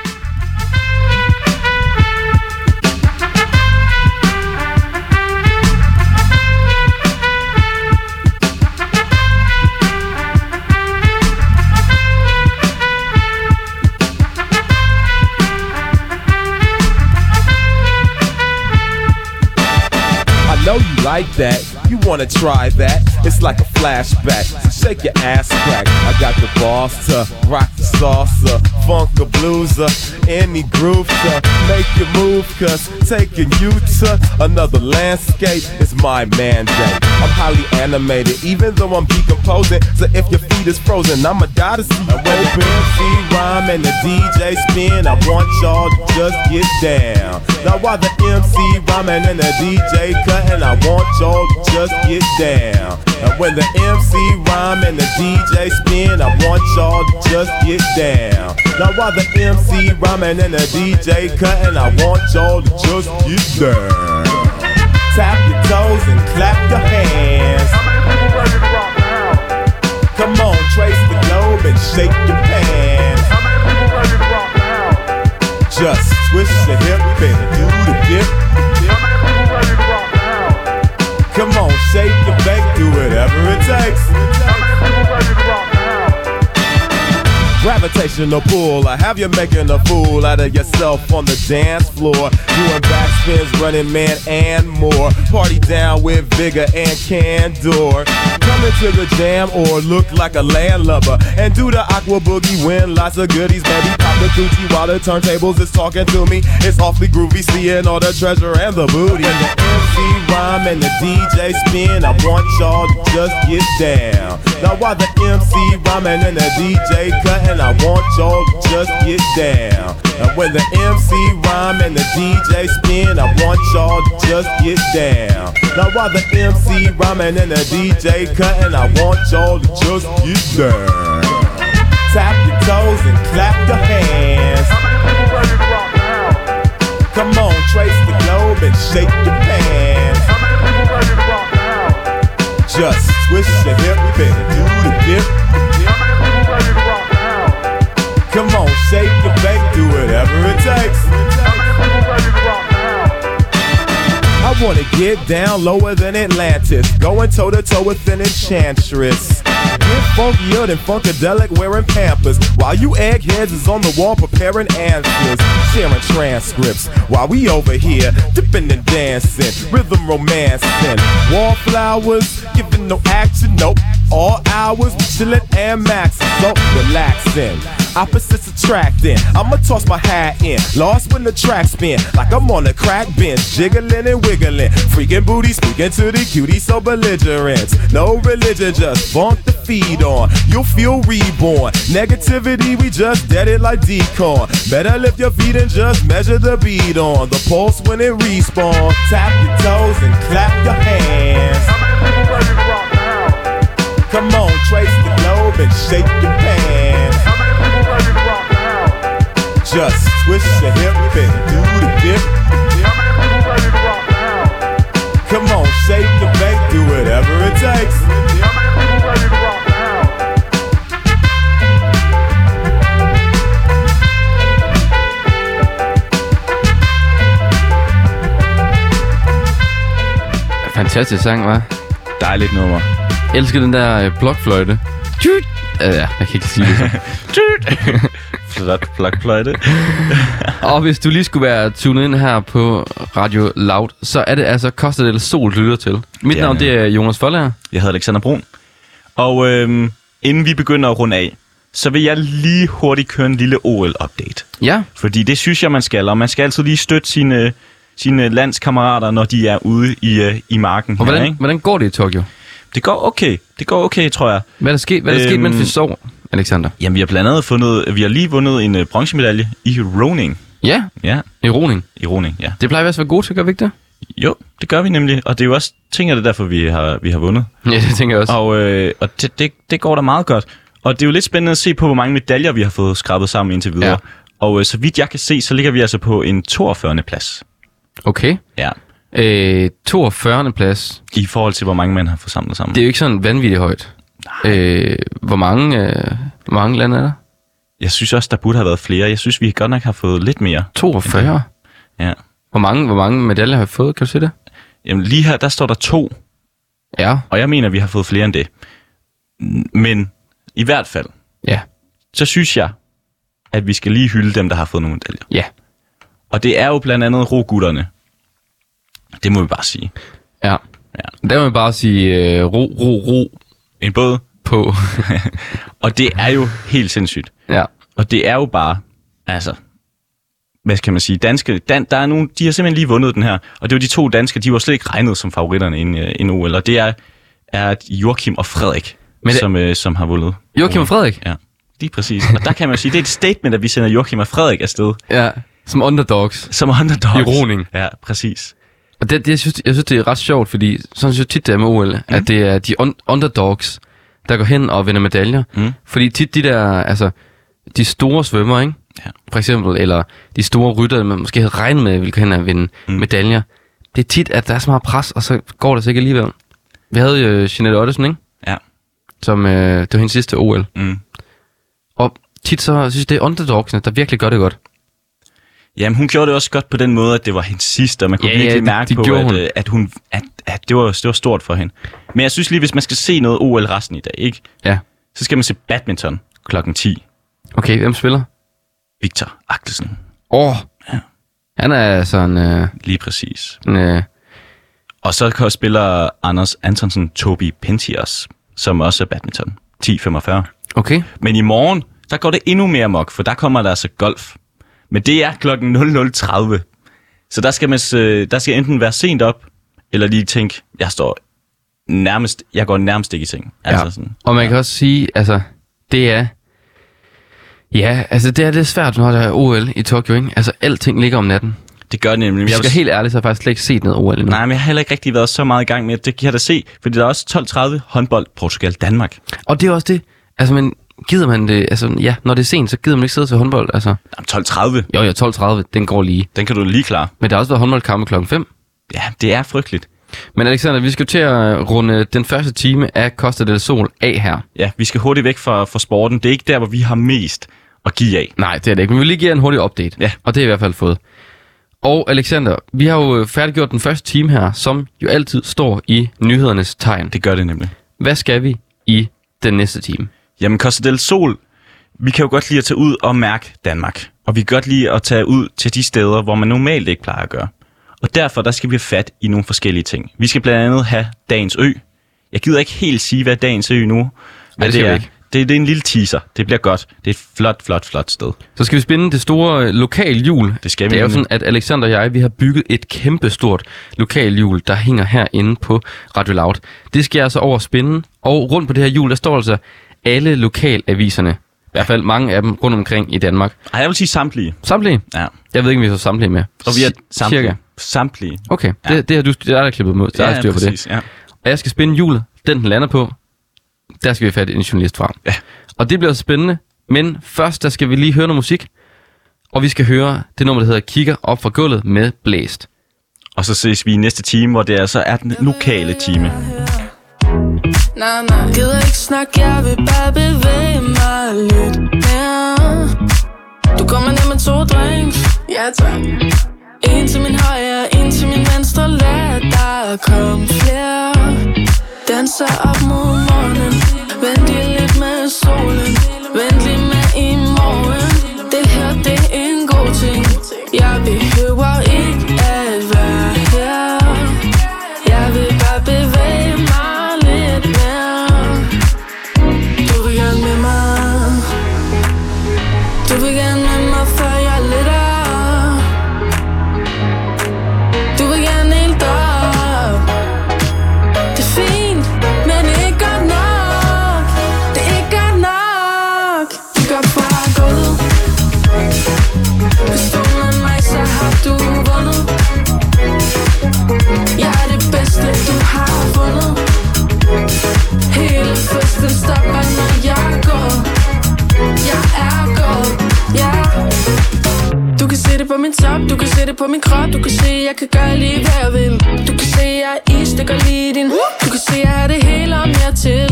Speaker 6: I know you like that. You wanna try that? It's like a flashback. So shake your ass crack. I got the boss to rock the salsa, funk a blueser, any groove to make your move. Cause taking you to another landscape is my mandate. I'm highly animated, even though I'm decomposing. So if your feet is frozen, I'ma die to see you open. See rhyme and the DJ spin. I want y'all to just get down. Now while the MC rhyming and the DJ cutting, I want y'all to just get down. And when the MC rhyme and the DJ spin, I want y'all to just get down. Now while the MC rhyming and the DJ cutting, I want y'all to just get down. Tap your toes and clap your hands. Come on, trace the globe and shake your pants. Just twist your hip and do the dip. Come on, shake your back, do whatever it takes. Gravitational pull, I have you making a fool out of yourself on the dance floor. Doing backspins, running man, and more. Party down with vigor and candor. Coming to the jam or look like a landlubber. And do the aqua boogie, win lots of goodies, baby. Pop the coochie while the turntables is talking to me. It's awfully groovy, seeing all the treasure and the booty. And the MC rhyme and the DJ spin. I want y'all to just get down. Now while the MC rhyming and the DJ cutting, I want y'all to just get down. And when the MC rhyme and the DJ spin, I want y'all to just get down. Now while the MC rhyming and the DJ cutting, I want y'all to just get down. Tap your toes and clap your hands. Come on, trace the globe and shake your pants. Just twist your hip and do the dip. Come on, shake your back, do whatever it takes. I wanna get down lower than Atlantis, going toe to toe with an enchantress. Get funkier than Funkadelic wearing Pampers, while you eggheads is on the wall preparing answers, sharing transcripts. While we over here dipping and dancing, rhythm romancing, wallflowers, giving no action, nope. All hours, we chillin' and maxin', so relaxin'. Opposites attracting. I'ma toss my hat in, lost when the track spin, like I'm on a crack bench, jiggling and wiggling. Freaking booty, speaking to the cutie, so belligerent. No religion, just funk the feed on. You'll feel reborn. Negativity, we just dead it like decon. Better lift your feet and just measure the beat on the pulse when it respawn. Tap your toes and clap your hands. Come on, trace the globe and shake your pants. Just twist your hip and do the dip. Come on, shake your back, do whatever it takes.
Speaker 3: Fantastisk sang, var.
Speaker 2: Dejligt nummer.
Speaker 3: elsker den der øh, blokfløjte. Tjut! Øh, ja, jeg kan ikke sige det. så.
Speaker 2: Flot plakfløjte.
Speaker 3: Og hvis du lige skulle være tunet ind her på Radio Loud, så er det altså Costa del Sol, du lytter til. Mit
Speaker 2: Ja.
Speaker 3: navn, det er Jonas Forlager.
Speaker 2: Jeg hedder Alexander Brun. Og øhm, inden vi begynder at runde af, så vil jeg lige hurtigt køre en lille OL-update.
Speaker 3: Ja,
Speaker 2: Fordi det synes jeg, man skal, og man skal altid lige støtte sine, sine landskammerater, når de er ude i, øh, i marken.
Speaker 3: og
Speaker 2: her,
Speaker 3: hvordan,
Speaker 2: ikke?
Speaker 3: hvordan går det i Tokyo?
Speaker 2: Det går okay. Det går okay, tror jeg.
Speaker 3: Hvad er der sket, hvad er der
Speaker 2: Øhm,
Speaker 3: sket mens vi sov, Alexander?
Speaker 2: Jamen, vi har blandt andet fundet, vi har lige vundet en øh, bronzemedalje i roning.
Speaker 3: Ja,
Speaker 2: Ja,
Speaker 3: i roning.
Speaker 2: i roning, ja.
Speaker 3: Det plejer vi også at være gode til, gør vi ikke det?
Speaker 2: Jo, det gør vi nemlig, og det er jo også, tænker det er derfor, vi har, vi har vundet.
Speaker 3: Ja, det tænker jeg også.
Speaker 2: Og, øh, og det, det, det går da meget godt. Og det er jo lidt spændende at se på, hvor mange medaljer vi har fået skrabet sammen indtil videre.
Speaker 3: Ja.
Speaker 2: Ja. Og øh, så vidt jeg kan se, så ligger vi altså på en 42. plads.
Speaker 3: Okay.
Speaker 2: Ja.
Speaker 3: Øh, 42. plads.
Speaker 2: I forhold til, hvor mange man har fået samlet sammen.
Speaker 3: Det
Speaker 2: Det.
Speaker 3: er jo ikke sådan vanvittigt højt. Øh, hvor, mange, øh, hvor mange lande er der?
Speaker 2: Jeg synes også, der burde have været flere. Jeg synes, vi godt nok har fået lidt mere.
Speaker 3: 42.
Speaker 2: Ja.
Speaker 3: Hvor mange, hvor mange medaljer har vi fået, kan du se det?
Speaker 2: Jamen, lige her, der står der to,
Speaker 3: Ja,
Speaker 2: og jeg mener, vi har fået flere end det. N- Men i hvert fald,
Speaker 3: ja,
Speaker 2: så synes jeg, at vi skal lige hylde dem, der har fået nogle medaljer.
Speaker 3: ja.
Speaker 2: Og det er jo blandt andet rogutterne. Det må vi bare sige.
Speaker 3: Ja. ja. Der må man bare sige øh, ro, ro, ro
Speaker 2: En båd.
Speaker 3: på.
Speaker 2: Og det er jo helt sindssygt.
Speaker 3: ja.
Speaker 2: Og det er jo bare, altså, hvad skal man sige, danske, dan, der er nogen, de har simpelthen lige vundet den her, og det var de to danskere, de var slet ikke regnet som favoritterne inden, øh, inden OL, og det er, er Joachim og Frederik,
Speaker 3: Men det-
Speaker 2: som, øh, som har vundet.
Speaker 3: Joachim og Frederik?
Speaker 2: Ja, lige præcis. Og der kan man jo sige, det er et statement, at vi sender Joachim og Frederik afsted
Speaker 3: Ja, som underdogs.
Speaker 2: som underdogs.
Speaker 3: I roning.
Speaker 2: Ja, præcis.
Speaker 3: Og det, det, jeg, synes, jeg synes, det er ret sjovt, fordi sådan synes jeg tit, det er med OL, mm. at det er de un- underdogs, der går hen og vinder medaljer.
Speaker 2: Mm.
Speaker 3: Fordi tit de der, altså, de store svømmer, ikke?
Speaker 2: Ja.
Speaker 3: For eksempel, eller de store rytter, man måske havde regnet med, ville gå hen og vinde mm. medaljer. Det er tit, at der er så meget pres, og så går det så ikke alligevel. Vi havde jo øh, Jeanette Ottesen, ikke?
Speaker 2: Ja.
Speaker 3: Som, øh, det var hendes sidste OL.
Speaker 2: Mm.
Speaker 3: Og tit så synes jeg, det er underdogsene, der virkelig gør det godt.
Speaker 2: Jamen, hun gjorde det også godt på den måde, at det var hendes sidste, og man kunne
Speaker 3: Ja,
Speaker 2: ja,
Speaker 3: ja,
Speaker 2: virkelig
Speaker 3: det-
Speaker 2: mærke
Speaker 3: det
Speaker 2: på,
Speaker 3: gjorde
Speaker 2: at,
Speaker 3: hun.
Speaker 2: øh, at, hun, at, at det, var, det var stort for hende. Men jeg synes lige, hvis man skal se noget OL resten i dag, ikke?
Speaker 3: Ja.
Speaker 2: så skal man se badminton klokken 10.
Speaker 3: Okay, hvem spiller?
Speaker 2: Victor Axelsen,
Speaker 3: Åh! Oh. Han er sådan øh,
Speaker 2: lige præcis.
Speaker 3: en... Øh,
Speaker 2: Og så kan- spiller Anders Antonsen Tobi Pentias, som også er badminton, 10.45.
Speaker 3: okay.
Speaker 2: Men i morgen, der går det endnu mere mok, for der kommer der altså golf. Men det er klokken 00.30. Så der skal, man, s- øh, der skal enten være sent op, eller lige tænke, jeg står nærmest, jeg går nærmest ikke i seng. Altså sådan.
Speaker 3: Og man kan også sige, altså, det er... Ja, altså det er lidt svært, når der er OL i Tokyo, ikke? Altså, alting ligger om natten.
Speaker 2: Det gør det nemlig.
Speaker 3: Vi
Speaker 2: Jeg
Speaker 3: skal
Speaker 2: vil,
Speaker 3: helt ærligt, så har jeg faktisk slet ikke set noget OL endnu.
Speaker 2: nej, men jeg har heller ikke rigtig været så meget i gang med, at det kan jeg da se, fordi der er også 12.30 håndbold Portugal-Danmark.
Speaker 3: Og det er også det, altså, men gider man det, altså, ja, når det er sent, så gider man ikke sidde til håndbold, altså.
Speaker 2: Jamen, 12.30,
Speaker 3: Jo, jo, 12.30, den går lige.
Speaker 2: den kan du lige klare.
Speaker 3: Men der har også været håndboldkampe klokken 5.
Speaker 2: Ja, det er frygteligt.
Speaker 3: Men Alexander, vi skal jo til at runde den første time af Costa del Sol af her.
Speaker 2: Ja, vi skal hurtigt væk fra, fra sporten. Det er ikke der, hvor vi har mest at give af.
Speaker 3: Nej, det er det ikke. Men vi vil lige give jer en hurtig update.
Speaker 2: Ja.
Speaker 3: Og det er i hvert fald fået. Og Alexander, vi har jo øh, færdiggjort den første time her, som jo altid står i nyhedernes tegn.
Speaker 2: Det gør det nemlig.
Speaker 3: Hvad skal vi i den næste time?
Speaker 2: Jamen, Costa del Sol, vi kan jo godt lide at tage ud og mærke Danmark. Og vi kan godt lide at tage ud til de steder, hvor man normalt ikke plejer at gøre. Og derfor der skal vi have fat i nogle forskellige ting. Vi skal blandt andet have Dagens Ø. Jeg gider ikke helt sige, hvad Dagens Ø nu hvad
Speaker 3: det skal vi
Speaker 2: er.
Speaker 3: ikke.
Speaker 2: Det, det er en lille teaser. Det bliver godt. Det er et flot, flot, flot sted.
Speaker 3: Så skal vi spinde det store øh, lokalhjul.
Speaker 2: Det skal vi
Speaker 3: Det er jo sådan,
Speaker 2: nemlig.
Speaker 3: at Alexander og jeg, vi har bygget et kæmpe stort lokalhjul, der hænger herinde på Radio Loud. Det skal jeg altså over spinde, og rundt på det her hjul, der står altså alle lokalaviserne. I hvert fald mange af dem rundt omkring i Danmark.
Speaker 2: Ej, jeg vil sige samtlige.
Speaker 3: Samtlige?
Speaker 2: Ja.
Speaker 3: Jeg ved ikke, om vi så samtlige med.
Speaker 2: Og vi er
Speaker 3: Ci-
Speaker 2: samtlige.
Speaker 3: Cirka.
Speaker 2: Samtlige.
Speaker 3: Okay, ja. det, det har du der er der klippet mod. Der ja, er styr på det.
Speaker 2: Ja.
Speaker 3: Og jeg skal spænde hjulet, den den lander på. Der skal vi have fat i en journalist fra. Ja. Og det bliver spændende, men først der skal vi lige høre noget musik. Og vi skal høre det nummer, der hedder Kigger op fra gulvet med Blæst.
Speaker 2: Og så ses vi i næste time, hvor det altså er den lokale time.
Speaker 7: Nej, nej Gider ikke snakke, jeg vil bare bevæge mig lidt mere Du kommer ned med to drinks Ja tak En til min højre, en til min venstre Lad der komme flere Danser op mod morgenen Vent lige lidt med solen Vent lige med i morgen Det her, det er en god ting Jeg behøver ikke at være her jeg vil bare bevæge mig lidt mere Du vil gerne med mig Du vil gerne med mig, før jeg lidt op Du vil gerne helt op Det er fint, men ikke godt nok Det er ikke godt nok Kig op fra gulvet Hvis du er med mig, så har du vundet jeg er det bedste, du har fundet Hele festen stopper, når jeg går Jeg er gået, ja Du kan se det på min top, du kan se det på min krop Du kan se, jeg kan gøre lige hvad jeg vil Du kan se, jeg er is, det gør lige din Du kan se, jeg har det hele og mere til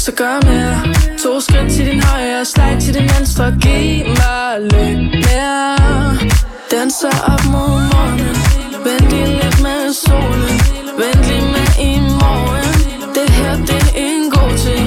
Speaker 7: Så gør mere To skridt til din højre, slag til din venstre Giv mig lidt mere Danser op mod morgenen Vent lige lidt med solen Vent lige med i morgen Det her, det er en god ting